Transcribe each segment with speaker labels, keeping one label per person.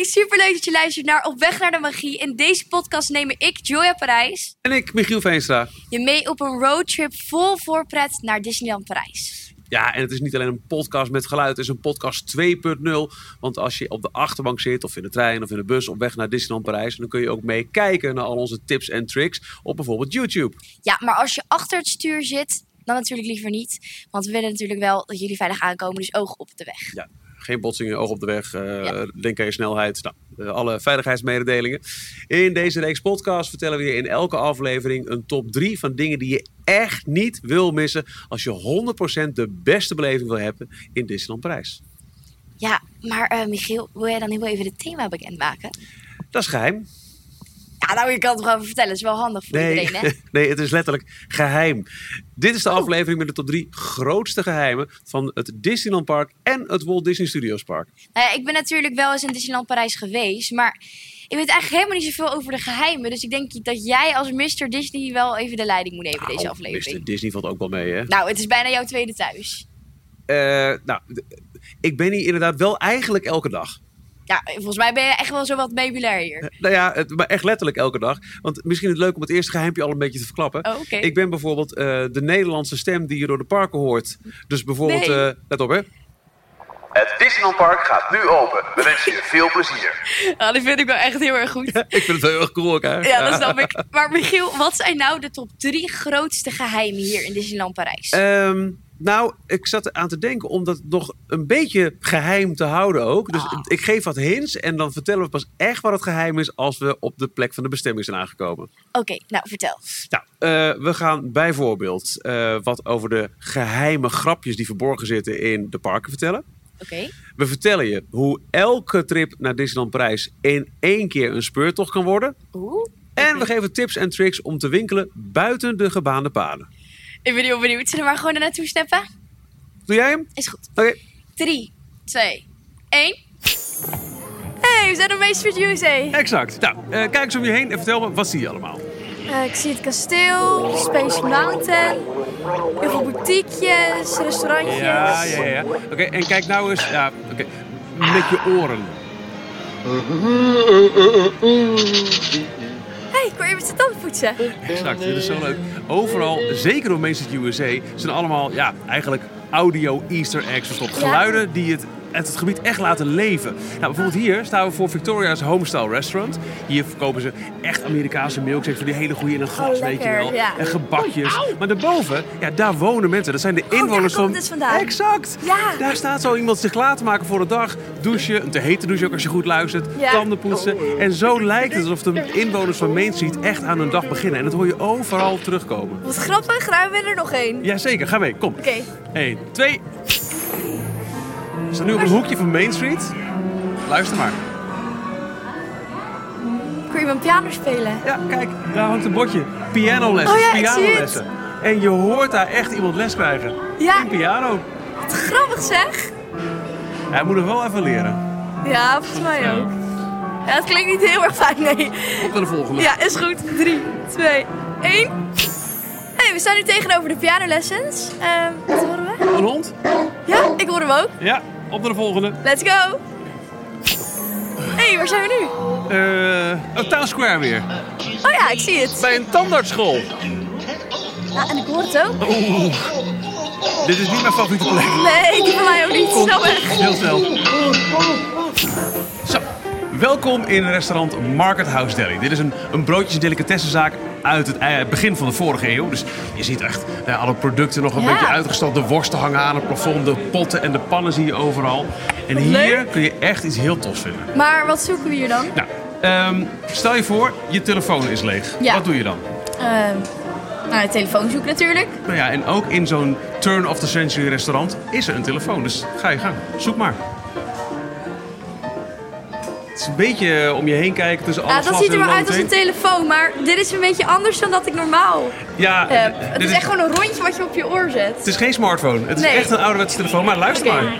Speaker 1: Superleuk dat je luistert naar Op Weg naar de Magie. In deze podcast nemen ik, Joya Parijs,
Speaker 2: En ik, Michiel Veenstra.
Speaker 1: je mee op een roadtrip vol voorpret naar Disneyland Parijs.
Speaker 2: Ja, en het is niet alleen een podcast met geluid, het is een podcast 2.0. Want als je op de achterbank zit, of in de trein, of in de bus, op weg naar Disneyland Parijs, dan kun je ook mee kijken naar al onze tips en tricks op bijvoorbeeld YouTube.
Speaker 1: Ja, maar als je achter het stuur zit, dan natuurlijk liever niet. Want we willen natuurlijk wel dat jullie veilig aankomen, dus oog op de weg.
Speaker 2: Ja, geen botsingen, oog op de weg, eh
Speaker 1: Ja.
Speaker 2: denk aan je snelheid. Nou, eh, alle veiligheidsmededelingen. In deze reeks podcast vertellen we je in elke aflevering een top 3 van dingen die je echt niet wil missen als je 100% de beste beleving wil hebben in Disneyland Parijs.
Speaker 1: Ja, maar eh, Michiel, wil jij dan heel even het thema bekendmaken?
Speaker 2: Dat is geheim.
Speaker 1: Ja, nou, je kan het gewoon vertellen. is wel handig voor iedereen, hè? Oh.
Speaker 2: nee, het is letterlijk geheim. Dit is de aflevering met de top drie grootste geheimen van het Disneyland Park en het Walt Disney Studios Park.
Speaker 1: Nou ja, ik ben natuurlijk wel eens in Disneyland Parijs geweest, maar ik weet eigenlijk helemaal niet zoveel over de geheimen. Dus ik denk dat jij als Mr. Disney wel even de leiding moet nemen deze
Speaker 2: Au,
Speaker 1: aflevering.
Speaker 2: Mr. Oh, Disney valt ook wel mee, hè?
Speaker 1: Nou, het is bijna jouw tweede thuis.
Speaker 2: Eh, nou, d- ik ben hier inderdaad wel eigenlijk elke dag.
Speaker 1: Ja, volgens mij ben je echt wel zo wat meubilair hier.
Speaker 2: Nou ja, het, maar echt letterlijk elke dag. Want misschien is het leuk om het eerste geheimpje al een beetje te verklappen.
Speaker 1: Oh, oké.
Speaker 2: Ik ben bijvoorbeeld eh, de Nederlandse stem die je door de parken hoort. Dus bijvoorbeeld,
Speaker 1: Nee.
Speaker 2: eh, let op hè.
Speaker 3: Het Disneyland Park gaat nu open. We wensen je veel plezier.
Speaker 1: Ja, dat vind ik wel echt heel erg goed.
Speaker 2: Ik vind het wel heel erg cool ook hè.
Speaker 1: Ja, dat snap ik. Maar Michiel, wat zijn nou de top drie grootste geheimen hier in Disneyland Parijs?
Speaker 2: Ehm, nou, ik zat eraan te denken om dat nog een beetje geheim te houden ook. Dus
Speaker 1: Ah.
Speaker 2: ik geef wat hints en dan vertellen we pas echt wat het geheim is als we op de plek van de bestemming zijn aangekomen.
Speaker 1: Oké, nou vertel.
Speaker 2: Nou, eh, we gaan bijvoorbeeld eh, wat over de geheime grapjes die verborgen zitten in de parken vertellen.
Speaker 1: Oké.
Speaker 2: We vertellen je hoe elke trip naar Disneyland Parijs in één keer een speurtocht kan worden.
Speaker 1: Oeh.
Speaker 2: En we geven tips en tricks om te winkelen buiten de gebaande paden.
Speaker 1: Ik ben heel benieuwd. Zullen we maar gewoon er naartoe steppen?
Speaker 2: Doe jij hem?
Speaker 1: Is goed.
Speaker 2: Oké.
Speaker 1: 3, 2, 1. Hey, we zijn op Meester Tuesday.
Speaker 2: Exact. Nou, eh, kijk eens om je heen en vertel me, wat zie je allemaal?
Speaker 1: Eh, ik zie het kasteel, Space Mountain, heel veel boutiquejes, restaurantjes.
Speaker 2: ja. Oké, en kijk nou eens ja, oké, met je oren.
Speaker 1: Hey, ik hoor even zijn tanden poetsen.
Speaker 2: Exact, dit is zo leuk. Overal, zeker door Meesters USA, zijn allemaal ja, eigenlijk audio easter eggs verstopt. Geluiden die het, het, het gebied echt laten leven. Nou, bijvoorbeeld hier staan we voor Victoria's Homestyle Restaurant. Hier verkopen ze echt Amerikaanse milkshakes voor die hele goede in een glas, weet je
Speaker 1: Oh, lekker,
Speaker 2: wel.
Speaker 1: ja.
Speaker 2: En gebakjes. Maar daarboven, ja, daar wonen mensen. Dat zijn de inwoners
Speaker 1: Oh, daar komt
Speaker 2: van...
Speaker 1: het vandaan.
Speaker 2: Exact.
Speaker 1: Ja.
Speaker 2: Daar staat zo iemand zich klaar te maken voor de dag. Douchen, een te hete douche ook als je goed luistert.
Speaker 1: Ja.
Speaker 2: Tanden poetsen. En zo lijkt het alsof de inwoners van Main Street echt aan hun dag beginnen. En dat hoor je overal terugkomen.
Speaker 1: Wat grappig, ruim weer er nog één.
Speaker 2: Jazeker, ga mee. Kom.
Speaker 1: Oké.
Speaker 2: 1, 2. We staan nu op een hoekje van Main Street. Luister maar.
Speaker 1: Ik hoor iemand piano spelen.
Speaker 2: Ja, kijk, daar hangt een bordje. Pianolessen,
Speaker 1: Oh ja, ik zie
Speaker 2: pianolessen. En je hoort daar echt iemand les krijgen.
Speaker 1: Ja.
Speaker 2: In piano.
Speaker 1: Wat grappig zeg.
Speaker 2: Hij moet nog wel even leren.
Speaker 1: Ja, volgens mij ook. Ja, het klinkt niet heel erg fijn, nee.
Speaker 2: Op naar de volgende.
Speaker 1: Ja, is goed. 3, 2, 1. Hey, we staan nu tegenover de pianolessons. Ehm, wat horen we?
Speaker 2: Een hond?
Speaker 1: Ja, ik hoor hem ook.
Speaker 2: Ja, op naar de volgende.
Speaker 1: Let's go! hey, waar zijn we nu?
Speaker 2: Eh, oh, Town Square weer.
Speaker 1: Oh ja, ik zie het.
Speaker 2: Bij een tandartsschool.
Speaker 1: Ja, en ik hoor het ook.
Speaker 2: Dit is niet mijn favoriete plek.
Speaker 1: Nee, die van mij ook niet. Snel weg.
Speaker 2: Heel snel. Zo, welkom in restaurant Market House Deli. Dit is een, een broodjes- en delicatessenzaak uit het eh, begin van de vorige eeuw. Dus je ziet echt eh, alle producten nog een
Speaker 1: Ja.
Speaker 2: beetje uitgestald. De worsten hangen aan het plafond, de potten en de pannen zie je overal. En hier
Speaker 1: leuk.
Speaker 2: kun je echt iets heel tofs vinden.
Speaker 1: Maar wat zoeken we hier dan?
Speaker 2: Nou, ehm, stel je voor, je telefoon is leeg.
Speaker 1: Ja.
Speaker 2: Wat doe je dan?
Speaker 1: Ehm nou, de telefoonzoek natuurlijk.
Speaker 2: Nou ja, en ook in zo'n turn of the century restaurant is er een telefoon. Dus ga je gang. Zoek maar. Het is een beetje eh, om je heen kijken tussen alle
Speaker 1: Ja, dat
Speaker 2: glazen
Speaker 1: ziet er
Speaker 2: en
Speaker 1: wel uit als
Speaker 2: loodteen.
Speaker 1: een telefoon, maar dit is een beetje anders dan dat ik normaal
Speaker 2: Ja,
Speaker 1: heb.
Speaker 2: eh,
Speaker 1: Het
Speaker 2: dit
Speaker 1: is echt gewoon een rondje wat je op je oor zet.
Speaker 2: Het is geen smartphone. Het
Speaker 1: Nee.
Speaker 2: is echt een ouderwetse telefoon. Maar luister
Speaker 1: Oké.
Speaker 2: maar.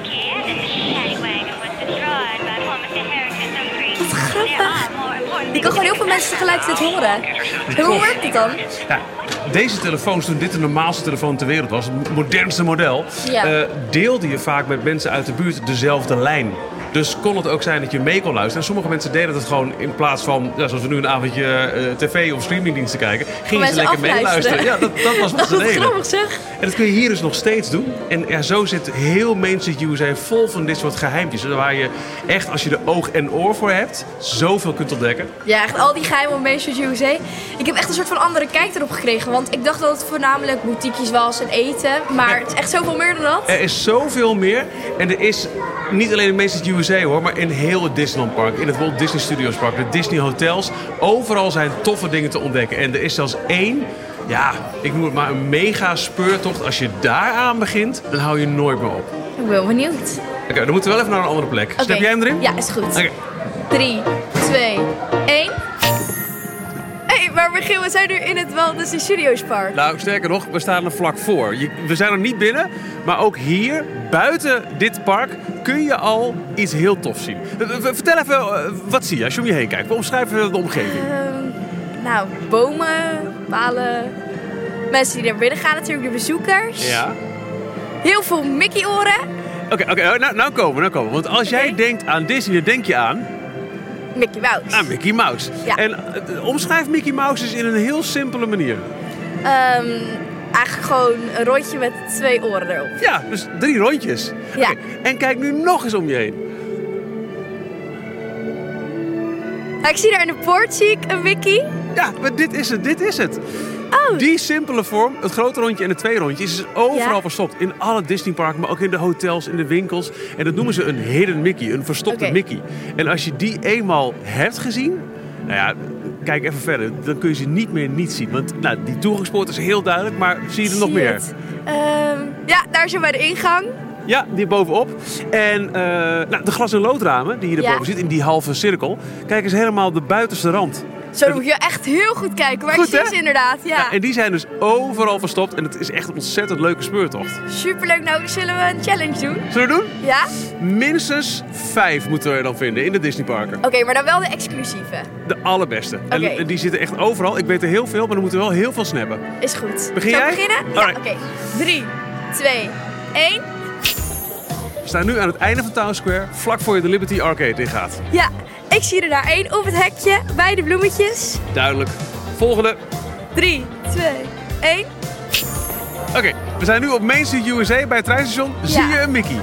Speaker 1: Ik kan gewoon heel veel mensen tegelijkertijd horen. En hoe werkt het dan?
Speaker 2: Ja, deze telefoons, toen dit de normaalste telefoon ter wereld was, het modernste model,
Speaker 1: Ja.
Speaker 2: eh, deelde je vaak met mensen uit de buurt dezelfde lijn. Dus kon het ook zijn dat je mee kon luisteren. En sommige mensen deden het gewoon in plaats van, ja, zoals we nu een avondje eh, tv of streamingdiensten kijken, gingen ze
Speaker 4: mensen
Speaker 2: lekker meeluisteren.
Speaker 4: afluisteren.
Speaker 2: Ja, dat, dat was wat
Speaker 4: Dat
Speaker 2: ze
Speaker 4: is
Speaker 2: deden.
Speaker 4: grappig zeg.
Speaker 2: En dat kun je hier dus nog steeds doen. En ja, zo zit heel Mindset USA vol van dit soort geheimpjes. Waar je echt, als je er oog en oor voor hebt, zoveel kunt ontdekken.
Speaker 1: Ja, echt al die geheime Omeisjes USA. Ik heb echt een soort van andere kijk erop gekregen. Want ik dacht dat het voornamelijk boutiques was en eten. Maar het is echt zoveel meer dan dat.
Speaker 2: Er is zoveel meer. En er is niet alleen in Massachusetts USA hoor, maar in heel het Disneyland Park. In het Walt Disney Studios Park, de Disney Hotels. Overal zijn toffe dingen te ontdekken. En er is zelfs één, ja, ik noem het maar een mega speurtocht. Als je daaraan begint, dan hou je nooit meer op. Oké,
Speaker 1: Ik ben benieuwd.
Speaker 2: dan moeten we wel even naar een andere plek.
Speaker 1: Oké.
Speaker 2: Snap jij hem erin?
Speaker 1: Ja, is goed.
Speaker 2: Oké.
Speaker 1: 3, 2, 1. hey, maar begin, we zijn nu in het Walt Disney Studios Park.
Speaker 2: Nou, sterker nog, we staan er vlak voor. Je- we zijn er niet binnen, maar ook hier, buiten dit park, kun je al iets heel tofs zien. Eh, eh, Vertel even, eh, wat zie je als je om je heen kijkt? Omschrijf even de omgeving.
Speaker 1: Ehm, nou, bomen, palen. Mensen die naar binnen gaan natuurlijk, de bezoekers.
Speaker 2: Ja.
Speaker 1: Heel veel Mickey-oren.
Speaker 2: Oké, oké, eh, nou, nou komen, we, nou komen. we. Want als jij
Speaker 1: Oké.
Speaker 2: denkt aan Disney, dan denk je aan,
Speaker 1: Mickey Mouse.
Speaker 2: aan Ah, Mickey Mouse.
Speaker 1: Ja.
Speaker 2: En eh, eh, omschrijf Mickey Mouse eens in een heel simpele manier.
Speaker 1: Ehm, eigenlijk gewoon een rondje met twee oren erop.
Speaker 2: Ja, dus drie rondjes.
Speaker 1: Ja.
Speaker 2: Oké, En kijk nu nog eens om je heen.
Speaker 1: Nou, ik zie daar in de poort zie ik een Mickey.
Speaker 2: Ja, maar dit is het, dit is het.
Speaker 1: Oh,
Speaker 2: Die simpele vorm, het grote rondje en het twee rondje, is dus overal
Speaker 1: Ja.
Speaker 2: verstopt. In alle Disneyparken, maar ook in de hotels, in de winkels. En dat noemen ze een hidden Mickey, een verstopte
Speaker 1: Oké.
Speaker 2: Mickey. En als je die eenmaal hebt gezien, nou ja, kijk even verder. Dan kun je ze niet meer niet zien. Want nou, die toegangspoort is heel duidelijk, maar zie je er nog
Speaker 1: zie
Speaker 2: meer?
Speaker 1: het. Ehm, ja, daar zo bij de ingang.
Speaker 2: Ja, die bovenop. En eh, nou, de glas- en loodramen die je
Speaker 1: Ja.
Speaker 2: erboven ziet, in die halve cirkel. Kijk eens helemaal de buitenste rand.
Speaker 1: Zo dan moet je echt heel goed kijken. Maar
Speaker 2: Goed,
Speaker 1: ik zie
Speaker 2: hè?
Speaker 1: ze inderdaad. Ja.
Speaker 2: Nou, en die zijn dus overal verstopt. En het is echt een ontzettend leuke speurtocht.
Speaker 1: Superleuk. Nou, zullen we een challenge doen?
Speaker 2: Zullen we doen?
Speaker 1: Ja?
Speaker 2: Minstens vijf moeten we er dan vinden in de Disneyparken.
Speaker 1: Oké, maar dan wel de exclusieve.
Speaker 2: De allerbeste. En
Speaker 1: Oké.
Speaker 2: die zitten echt overal. Ik weet er heel veel, maar dan moeten we wel heel veel snappen.
Speaker 1: Is goed. Zullen we
Speaker 2: Begin jij?
Speaker 1: beginnen? Ja,
Speaker 2: Alright.
Speaker 1: oké. 3, 2, 1.
Speaker 2: We staan nu aan het einde van Town Square, vlak voor je de Liberty Arcade ingaat.
Speaker 1: Ja, ik zie er daar één op het hekje bij de bloemetjes.
Speaker 2: Duidelijk. Volgende.
Speaker 1: 3, 2, 1.
Speaker 2: Oké, we zijn nu op Main Street USA bij het treinstation. Zie je een Mickey?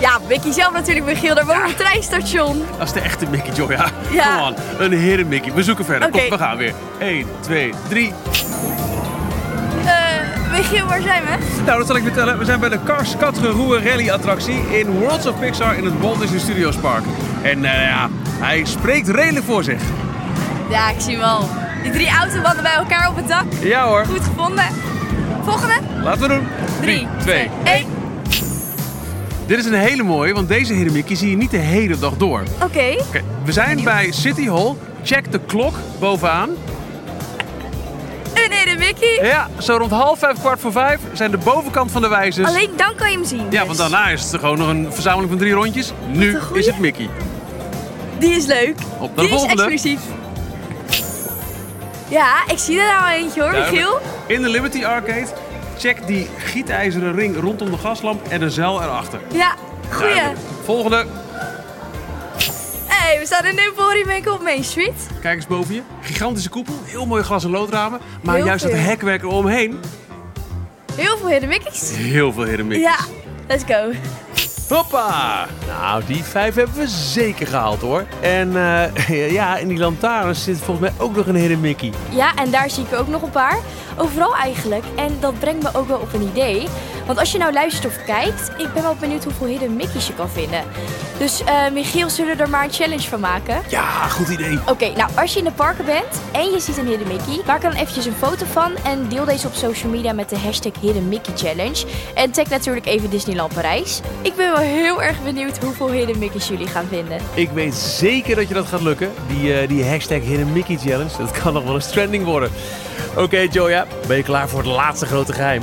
Speaker 1: Ja, Mickey zelf natuurlijk, Michiel. Daar boven het treinstation.
Speaker 2: Dat is de echte Mickey, joh, ja.
Speaker 1: Ja.
Speaker 2: Come on, een heren Mickey. We zoeken verder.
Speaker 1: Oké.
Speaker 2: Kom, we gaan weer. 1, 2, 3.
Speaker 1: Eh, Michiel, waar zijn we?
Speaker 2: Nou, dat zal ik vertellen. We zijn bij de Cars Katgeroe Rally attractie in Worlds of Pixar in het Walt Disney Studios Park. En eh, ja, hij spreekt redelijk voor zich.
Speaker 1: Ja, ik zie hem al. Die drie autobanden bij elkaar op het dak.
Speaker 2: Ja hoor,
Speaker 1: Goed gevonden. Volgende.
Speaker 2: laten we doen.
Speaker 1: 3, 2, 1.
Speaker 2: Dit is een hele mooie, want deze heren Mickey zie je niet de hele dag door.
Speaker 1: Oké.
Speaker 2: Oké, we zijn bij City Hall. Check de klok bovenaan.
Speaker 1: Een hele Mickey.
Speaker 2: Ja, zo rond half vijf, kwart voor vijf zijn de bovenkant van de wijzers.
Speaker 1: Alleen dan kan je hem zien.
Speaker 2: dus- Ja,
Speaker 1: dus.
Speaker 2: want daarna is het gewoon nog een verzameling van drie rondjes. Nu
Speaker 1: een goeie.
Speaker 2: is het Mickey.
Speaker 1: Dus Die is leuk.
Speaker 2: Op naar
Speaker 1: Die
Speaker 2: de Oh, volgende.
Speaker 1: is exclusief. Ja, ik zie er nou eentje hoor,
Speaker 2: Duidelijk.
Speaker 1: Michiel.
Speaker 2: In de Liberty Arcade. Check die gietijzeren ring rondom de gaslamp en de zeil erachter.
Speaker 1: Ja, goeie.
Speaker 2: Duidelijk. Volgende.
Speaker 1: hey, we staan in de Emporium Winkel op Main Street.
Speaker 2: Kijk eens boven je. Gigantische koepel. Heel mooi glas- en loodramen. Maar
Speaker 1: Heel
Speaker 2: juist dat
Speaker 1: veel.
Speaker 2: hekwerk eromheen.
Speaker 1: Heel veel hele Mickeys.
Speaker 2: Heel veel hidden
Speaker 1: Ja, let's go.
Speaker 2: Hoppa! Nou, die vijf hebben we zeker gehaald hoor. En eh, ja, in die lantaarns zit volgens mij ook nog een hidden Mickey.
Speaker 1: Ja, en daar zie ik ook nog een paar. Overal eigenlijk. En dat brengt me ook wel op een idee. Want als je nou luistert of kijkt, ik ben wel benieuwd hoeveel hidden Mickey's je kan vinden. Dus eh, Michiel, zullen we er maar een challenge van maken?
Speaker 2: Ja, goed idee.
Speaker 1: Oké, nou als je in de parken bent en je ziet een Hidden Mickey, maak er dan eventjes een foto van en deel deze op social media met de hashtag Hidden Mickey Challenge. En tag natuurlijk even Disneyland Parijs. Ik ben wel heel erg benieuwd hoeveel Hidden Mickey's jullie gaan vinden.
Speaker 2: Ik weet zeker dat je dat gaat lukken. Die, eh, die hashtag Hidden Mickey Challenge, dat kan nog wel eens trending worden. Oké Joya, ben je klaar voor het laatste grote geheim?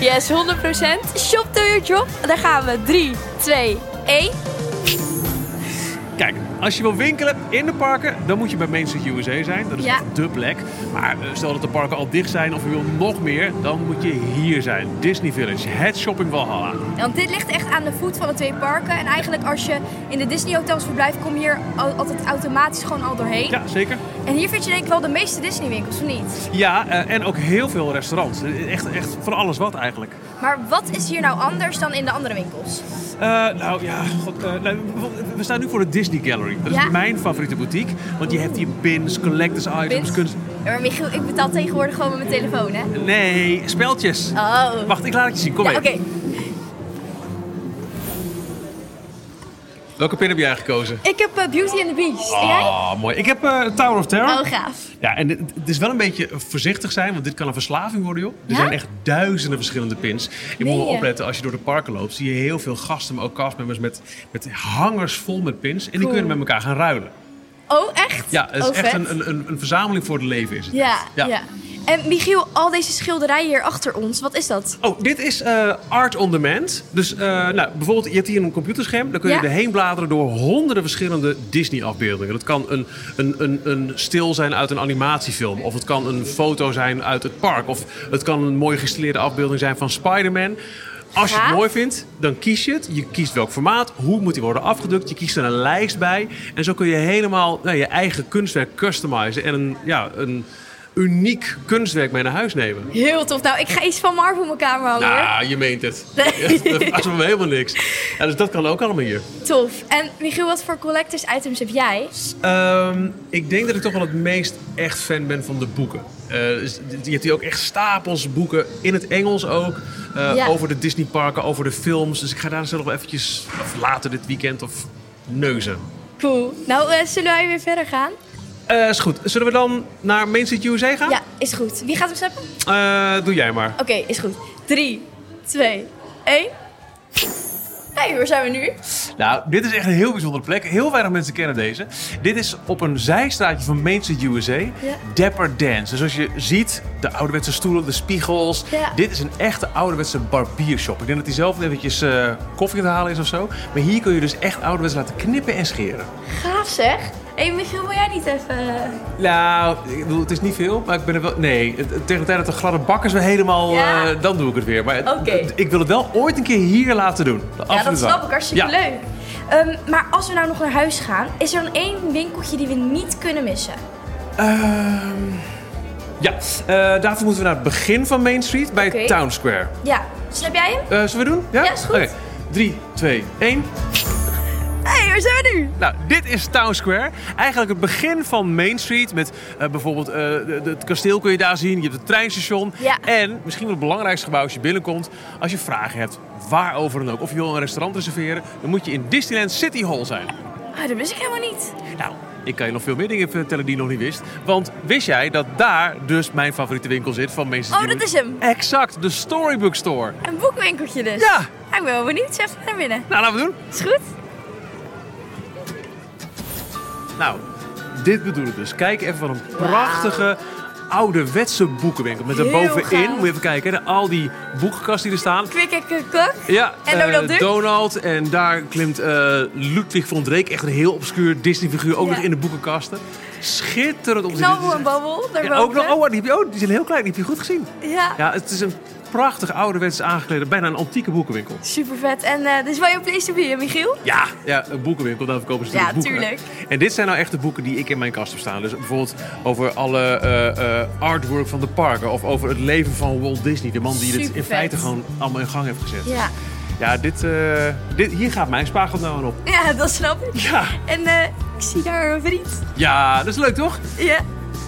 Speaker 1: Yes, 100%. Shop to your job. Daar gaan we. 3, 2, 1.
Speaker 2: Kijk, als je wil winkelen in de parken, dan moet je bij Main Street USA zijn. Dat is
Speaker 5: Ja.
Speaker 2: echt de plek. Maar eh, stel dat de parken al dicht zijn of je wil nog meer, dan moet je hier zijn. Disney Village, het shopping Valhalla.
Speaker 1: Want dit ligt echt aan de voet van de twee parken. En eigenlijk als je in de Disney hotels verblijft, kom je hier al- altijd automatisch gewoon al doorheen.
Speaker 2: Ja, zeker.
Speaker 1: En hier vind je denk ik wel de meeste Disney winkels, of niet?
Speaker 2: Ja, eh, en ook heel veel restaurants. Eh, Echt, echt van alles wat eigenlijk.
Speaker 1: Maar wat is hier nou anders dan in de andere winkels?
Speaker 2: Eh, nou ja, god, eh, nou, we- we staan nu voor de Disney Gallery. Dat is
Speaker 1: Ja.
Speaker 2: mijn favoriete boutique. Want je hebt hier bins, collectors items,
Speaker 1: Bins?
Speaker 2: kunst...
Speaker 1: Ja, maar Michiel, ik betaal tegenwoordig gewoon met mijn telefoon, hè?
Speaker 2: Nee, speeltjes.
Speaker 1: Oh.
Speaker 2: Wacht, ik laat het je zien. Kom
Speaker 1: Ja,
Speaker 2: mee.
Speaker 1: oké.
Speaker 2: Welke pin heb jij gekozen?
Speaker 1: Ik heb eh, Beauty and the Beast. En jij?
Speaker 2: Ah, mooi. Ik heb eh, Tower of Terror.
Speaker 1: Oh, gaaf.
Speaker 2: Ja, en het het is wel een beetje voorzichtig zijn, want dit kan een verslaving worden, joh. Er
Speaker 1: Ja? eh.
Speaker 2: zijn echt duizenden verschillende pins. Je moet
Speaker 1: Meen
Speaker 2: wel
Speaker 1: je?
Speaker 2: opletten, als je door de parken loopt, zie je heel veel gasten, maar ook castmembers met, met hangers vol met pins. En die kunnen met elkaar gaan ruilen.
Speaker 1: Oh, echt?
Speaker 2: Ja, het is
Speaker 1: oh,
Speaker 2: echt
Speaker 1: vet.
Speaker 2: een, een, een, een verzameling voor het leven is het.
Speaker 1: Ja,
Speaker 2: Ja.
Speaker 1: ja, En Michiel, al deze schilderijen hier achter ons, wat is dat?
Speaker 2: Oh, dit is eh, Art on Demand. Dus eh, nou, bijvoorbeeld, je hebt hier een computerscherm. Dan kun je
Speaker 1: Ja.
Speaker 2: erheen bladeren door honderden verschillende Disney-afbeeldingen. Dat kan een, een, een, een stil zijn uit een animatiefilm. Of het kan een foto zijn uit het park. Of het kan een mooi gestileerde afbeelding zijn van Spider-Man. Als je het
Speaker 1: Gaaf.
Speaker 2: mooi vindt, dan kies je het. Je kiest welk formaat, hoe moet die worden afgedrukt. Je kiest er een lijst bij. En zo kun je helemaal nou, je eigen kunstwerk customizen. En een, ja, een uniek kunstwerk mee naar huis nemen.
Speaker 1: Heel tof. Nou, ik ga iets van Marvel op mijn kamer hangen. hoor.
Speaker 2: Nou, je meent het. Ja, dat verbaast me helemaal niks. Ja, dus dat kan ook allemaal hier.
Speaker 1: Tof. En Michiel, wat voor collectors items heb jij?
Speaker 2: Ehm, ik denk dat ik toch wel het meest echt fan ben van de boeken. Eh, dus je hebt hier ook echt stapels boeken, in het Engels ook. eh,
Speaker 1: Ja.
Speaker 2: Over de Disneyparken, over de films. Dus ik ga daar zelf wel eventjes, of later dit weekend, of neuzen.
Speaker 1: Cool. Nou, eh, zullen wij weer verder gaan?
Speaker 2: Eh, is goed. Zullen we dan naar Main Street USA gaan?
Speaker 1: Ja, is goed. Wie gaat hem snappen? Oké,
Speaker 2: Eh, doe jij maar.
Speaker 1: is goed. 3, 2, 1. Hey, waar zijn we nu?
Speaker 2: Nou, dit is echt een heel bijzondere plek. Heel weinig mensen kennen deze. Dit is op een zijstraatje van Main Street USA. Dapper Dance. Dus als je ziet, de ouderwetse stoelen, de spiegels.
Speaker 1: Ja.
Speaker 2: Dit is een echte ouderwetse barbiershop. Ik denk dat hij zelf eventjes eh, koffie te halen is of zo. Maar hier kun je dus echt ouderwets laten knippen en scheren.
Speaker 1: Gaaf zeg. Hé, hey, Michiel, wil jij niet even...
Speaker 2: Nou, ik bedoel, het is niet veel, maar ik ben er wel... Nee, het- het- tegen de tijd dat de gladde bakkers weer helemaal...
Speaker 1: Ja.
Speaker 2: eh, dan doe ik het weer. Maar het-
Speaker 1: Oké.
Speaker 2: het- ik wil het wel ooit een keer hier laten doen.
Speaker 1: Ja, dat
Speaker 2: Absoluut wel.
Speaker 1: snap ik. Hartstikke
Speaker 2: Ja.
Speaker 1: leuk. Ehm, maar als we nou nog naar huis gaan, is er dan één winkeltje die we niet kunnen missen?
Speaker 2: Ehm, ja, eh, daarvoor moeten we naar het begin van Main Street bij
Speaker 1: Oké.
Speaker 2: Town Square.
Speaker 1: Ja, snap jij hem?
Speaker 2: Eh, zullen we doen?
Speaker 1: Ja, is goed.
Speaker 2: 3, 2, 1.
Speaker 1: Hé, hey, waar zijn we nu?
Speaker 2: Nou, dit is Town Square. Eigenlijk het begin van Main Street. Met eh, bijvoorbeeld eh, de- de- het kasteel kun je daar zien. Je hebt het treinstation.
Speaker 1: Ja.
Speaker 2: En misschien wel het belangrijkste gebouw als je binnenkomt. Als je vragen hebt, waarover dan ook. Of je wil een restaurant reserveren. Dan moet je in Disneyland City Hall zijn.
Speaker 1: Ah, dat wist ik helemaal niet.
Speaker 2: Nou, ik kan je nog veel meer dingen vertellen die je nog niet wist. Want wist jij dat daar dus mijn favoriete winkel zit van mensen
Speaker 1: Oh, dat is hem.
Speaker 2: Exact, de Storybook Store.
Speaker 1: Een boekwinkeltje dus.
Speaker 2: Ja.
Speaker 1: Ah, ik ben wel benieuwd. Zeg maar naar binnen.
Speaker 2: Nou, laten we doen.
Speaker 1: Is goed?
Speaker 2: Nou, dit bedoel ik dus. Kijk even wat een prachtige ouderwetse boekenwinkel. Met
Speaker 1: Heel
Speaker 2: daarbovenin,
Speaker 1: gaaf.
Speaker 2: moet je even kijken, hè, al die boekenkasten die er staan.
Speaker 1: Kwik en kwik, kwak.
Speaker 2: Ja,
Speaker 1: En
Speaker 2: eh,
Speaker 1: Donald Duck.
Speaker 2: Donald. En daar klimt eh, Ludwig von Dreek, echt een heel obscuur Disney-figuur,
Speaker 1: Ja.
Speaker 2: ook
Speaker 1: Nou,
Speaker 2: nog in de boekenkasten. Schitterend om te zien. Het
Speaker 1: Knabbel
Speaker 2: is
Speaker 1: en babbel.
Speaker 2: echt-
Speaker 1: Daarboven.
Speaker 2: Ja, ook nog, oh, die, heb je- oh, die zijn heel klein, die heb je goed gezien.
Speaker 1: Ja,
Speaker 2: Ja, het is een prachtig ouderwets aangeklede, bijna een antieke boekenwinkel.
Speaker 1: super vet. En eh, dit is wel jouw place to be, hè, Michiel?
Speaker 2: Ja, ja een boekenwinkel, daar verkopen ze
Speaker 1: Ja,
Speaker 2: natuurlijk boeken. hè. En dit zijn nou echt de boeken die ik in mijn kast heb staan. Dus bijvoorbeeld over alle eh, eh, artwork van de parken. Of over het leven van Walt Disney. De man die dit in
Speaker 1: Supervet.
Speaker 2: feite gewoon allemaal in gang heeft gezet.
Speaker 1: Ja.
Speaker 2: Ja, dit, eh, dit, hier gaat mijn spaargeld nou aan op.
Speaker 1: Ja, dat snap ik.
Speaker 2: Ja.
Speaker 1: En eh, ik zie daar een vriend.
Speaker 2: ja, dat is leuk toch?
Speaker 1: Ja.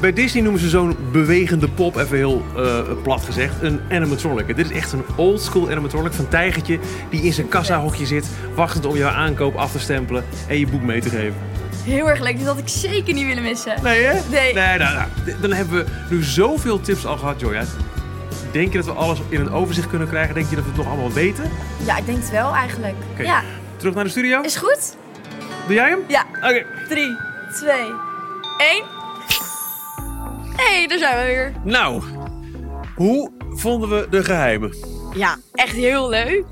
Speaker 2: Bij Disney noemen ze zo'n bewegende pop, even heel eh, plat gezegd, een animatronic. Dit is echt een oldschool animatronic van Tijgertje die in zijn kassahokje zit, wachtend om jouw aankoop af te stempelen en je boek mee te geven.
Speaker 1: Heel erg leuk. Dus dat had ik zeker niet willen missen.
Speaker 2: Nee, hè?
Speaker 1: Nee.
Speaker 2: nou, nou, d- Dan hebben we nu zoveel tips al gehad, Joya. Denk je dat we alles in een overzicht kunnen krijgen? Denk je dat we het nog allemaal weten? Oké,
Speaker 1: Ja, ik denk het wel eigenlijk. Ja.
Speaker 2: terug naar de studio.
Speaker 1: Is goed?
Speaker 2: Doe jij hem?
Speaker 1: Ja.
Speaker 2: Oké.
Speaker 1: 3, 2, 1. hey, daar zijn we weer.
Speaker 2: Nou, hoe vonden we de geheimen?
Speaker 5: Ja, echt heel leuk.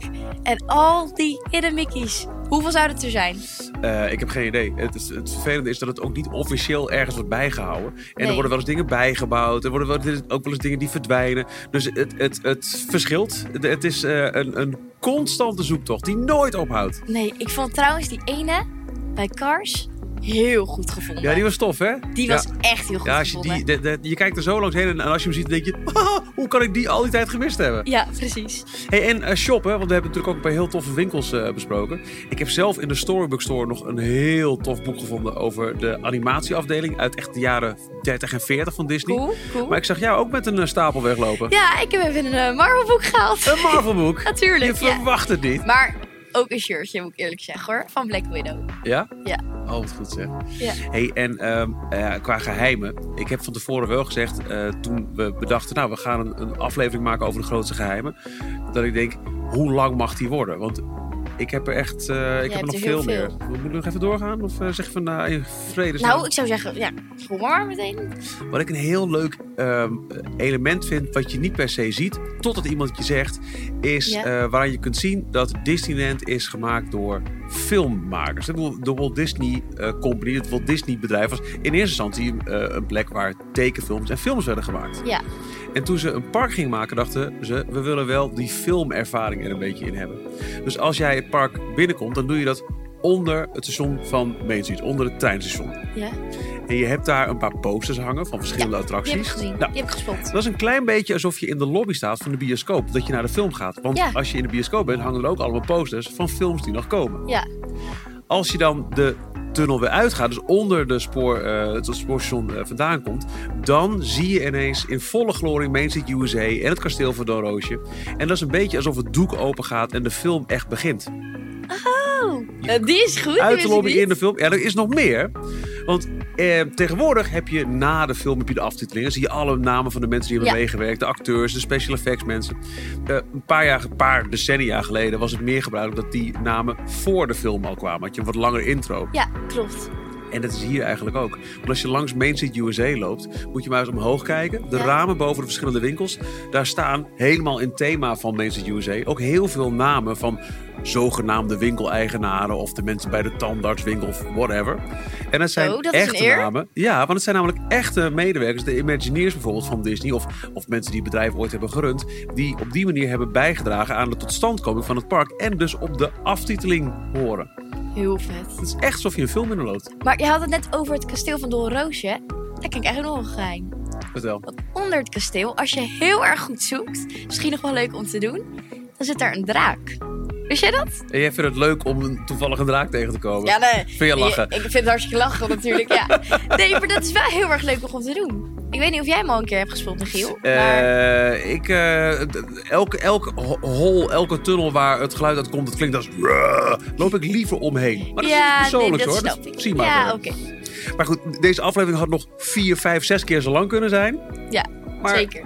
Speaker 5: En al die hidden mickeys.
Speaker 1: Hoeveel zou het er zijn?
Speaker 2: Eh, ik heb geen idee. Het, is, het vervelende is dat het ook niet officieel ergens wordt bijgehouden. En er
Speaker 1: Nee.
Speaker 2: worden wel eens dingen bijgebouwd. Er worden wel, er is ook wel eens dingen die verdwijnen. Dus het, het, het verschilt. Het, het is eh, een, een constante zoektocht die nooit ophoudt.
Speaker 1: Nee, ik vond trouwens die ene bij Cars heel goed gevonden.
Speaker 2: Ja, die was tof, hè?
Speaker 1: Die
Speaker 2: Ja.
Speaker 1: was echt heel goed
Speaker 2: Ja, als je,
Speaker 1: gevonden.
Speaker 2: die, de- de- je kijkt er zo langs heen en als je hem ziet, dan denk je... "Haha, hoe kan ik die al die tijd gemist hebben?
Speaker 1: Ja, precies.
Speaker 2: Hey, en eh, shoppen, want we hebben natuurlijk ook een paar heel toffe winkels eh, besproken. Ik heb zelf in de Storybook Store nog een heel tof boek gevonden... over de animatieafdeling uit echt de jaren 30 en 40 van Disney.
Speaker 1: Cool, cool.
Speaker 2: Maar ik zag jou ook met een eh, stapel weglopen.
Speaker 1: Ja, ik heb even een eh, Marvel-boek gehaald.
Speaker 2: Een Marvel-boek.
Speaker 1: Natuurlijk,
Speaker 2: Je
Speaker 1: ja.
Speaker 2: verwacht het niet.
Speaker 1: Maar ook een shirtje, moet ik eerlijk zeggen hoor. Van Black Widow.
Speaker 2: Ja?
Speaker 1: Ja.
Speaker 2: Oh, wat goed zeg.
Speaker 1: Ja.
Speaker 2: Hey, en ehm, eh, qua geheimen. Ik heb van tevoren wel gezegd, eh, toen we bedachten... nou, we gaan een, een aflevering maken over de grootste geheimen. Dat ik denk, hoe lang mag die worden? Want ik heb er echt... eh, ik heb
Speaker 1: hebt
Speaker 2: er nog
Speaker 1: er
Speaker 2: veel
Speaker 1: heel
Speaker 2: meer.
Speaker 1: veel.
Speaker 2: Moet ik nog even doorgaan? Of eh, zeg je van, nou, in vredesnaam?
Speaker 1: Nou, ik zou zeggen, ja, kom maar meteen.
Speaker 2: Wat ik een heel leuk ehm, element vind, wat je niet per se ziet, totdat iemand het je zegt, is
Speaker 1: Ja.
Speaker 2: eh, waaraan je kunt zien dat Disneyland is gemaakt door filmmakers. Ik bedoel, De Walt Disney eh, Company, het Walt Disney bedrijf, was in eerste instantie eh, een plek waar tekenfilms en films werden gemaakt.
Speaker 1: Ja.
Speaker 2: En toen ze een park gingen maken, dachten ze, we willen wel die filmervaring er een beetje in hebben. Dus als jij het park binnenkomt, dan doe je dat onder het station van Main Street, onder het treinstation.
Speaker 1: Ja,
Speaker 2: En je hebt daar een paar posters hangen van verschillende
Speaker 1: die
Speaker 2: attracties.
Speaker 1: heb ik gezien.
Speaker 2: Nou,
Speaker 1: Die heb ik gespot.
Speaker 2: dat is een klein beetje alsof je in de lobby staat van de bioscoop. Dat je naar de film gaat. Want
Speaker 1: Ja.
Speaker 2: als je in de bioscoop bent, hangen er ook allemaal posters van films die nog komen.
Speaker 1: Ja.
Speaker 2: Als je dan de tunnel weer uitgaat, dus onder de spoor, eh, het spoorstation eh, vandaan komt... dan zie je ineens in volle glorie Main Street USA en het kasteel van Don Roosje. En dat is een beetje alsof het doek open gaat en de film echt begint.
Speaker 1: Oh, nou, die is goed.
Speaker 2: Uit de
Speaker 1: die
Speaker 2: lobby
Speaker 1: wist ik
Speaker 2: in de
Speaker 1: niet.
Speaker 2: film. Ja, er is nog meer. Want eh, tegenwoordig heb je na de film heb je de aftiteling. Dan zie je alle namen van de mensen die hebben
Speaker 1: Ja.
Speaker 2: meegewerkt. De acteurs, de special effects mensen. Eh, een paar jaar, een paar decennia geleden was het meer gebruikelijk dat die namen voor de film al kwamen. Had je een wat langer intro.
Speaker 1: Ja, klopt.
Speaker 2: En dat is hier eigenlijk ook. Want als je langs Main Street USA loopt, moet je maar eens omhoog kijken. De
Speaker 1: Ja.
Speaker 2: ramen boven de verschillende winkels, daar staan helemaal in het thema van Main Street USA ook heel veel namen van zogenaamde winkeleigenaren of de mensen bij de tandartswinkel of whatever. En dat zijn
Speaker 1: Zo, Oh, dat is een
Speaker 2: echte
Speaker 1: eer.
Speaker 2: namen. Ja, want het zijn namelijk echte medewerkers, de Imagineers bijvoorbeeld van Disney of, of mensen die het bedrijf ooit hebben gerund, die op die manier hebben bijgedragen aan de totstandkoming van het park en dus op de aftiteling horen.
Speaker 1: Heel vet.
Speaker 2: Het is echt alsof je een film binnenloopt.
Speaker 1: Maar je had het net over het kasteel van Dolroosje. Daar ken ik eigenlijk nog een geheim.
Speaker 2: Vertel.
Speaker 1: Want onder het kasteel, als je heel erg goed zoekt, misschien nog wel leuk om te doen, dan zit daar een draak. Wist jij dat?
Speaker 2: En jij vindt het leuk om een toevallige draak tegen te komen?
Speaker 1: Ja, nee.
Speaker 2: Vind je lachen?
Speaker 1: Ik, ik vind het hartstikke lachen natuurlijk, ja. Nee, maar dat is wel heel erg leuk om te doen. Ik weet niet of jij hem al een keer hebt gespeeld, Michiel. Maar
Speaker 2: Eh, ik, eh, d- elke, elke ho- hol, elke tunnel waar het geluid uit komt, dat klinkt als... "Ruh", Loop ik liever omheen. Maar dat is
Speaker 1: ja,
Speaker 2: iets persoonlijks
Speaker 1: nee, dat
Speaker 2: hoor.
Speaker 1: snap ik.
Speaker 2: zie maar
Speaker 1: ja,
Speaker 2: wel.
Speaker 1: oké.
Speaker 2: Maar goed, deze aflevering had nog vier, vijf, zes keer zo lang kunnen zijn.
Speaker 1: Ja,
Speaker 2: Maar
Speaker 1: zeker.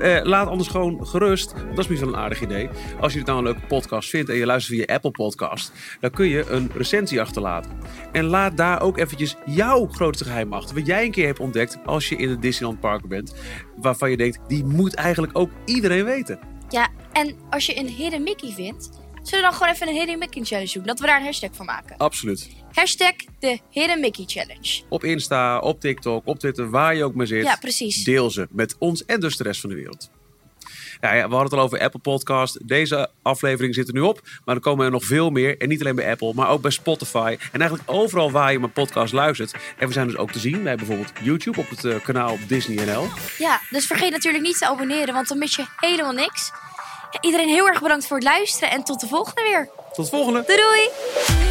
Speaker 2: eh, laat anders gewoon gerust. Dat is misschien wel een aardig idee. Als je dit nou een leuke podcast vindt en je luistert via Apple Podcast, dan kun je een recensie achterlaten. En laat daar ook eventjes jouw grootste geheim achter. Wat jij een keer hebt ontdekt als je in het Disneyland Park bent. Waarvan je denkt, die moet eigenlijk ook iedereen weten.
Speaker 1: Ja, en als je een Hidden Mickey vindt, zullen we dan gewoon even een Hidden Mickey Challenge doen. Dat we daar een hashtag van maken.
Speaker 2: Absoluut.
Speaker 1: Hashtag de Hidden Mickey Challenge.
Speaker 2: Op Insta, op TikTok, op Twitter, waar je ook maar zit.
Speaker 1: Ja, precies.
Speaker 2: Deel ze met ons en dus de rest van de wereld. Nou ja, we hadden het al over Apple Podcast. Deze aflevering zit er nu op. Maar er komen er nog veel meer. En niet alleen bij Apple, maar ook bij Spotify. En eigenlijk overal waar je mijn podcast luistert. En we zijn dus ook te zien bij bijvoorbeeld YouTube op het eh, kanaal Disney NL.
Speaker 1: Ja, dus vergeet natuurlijk niet te abonneren, want dan mis je helemaal niks. Iedereen heel erg bedankt voor het luisteren en tot de volgende weer.
Speaker 2: Tot de volgende!
Speaker 1: Doei doei!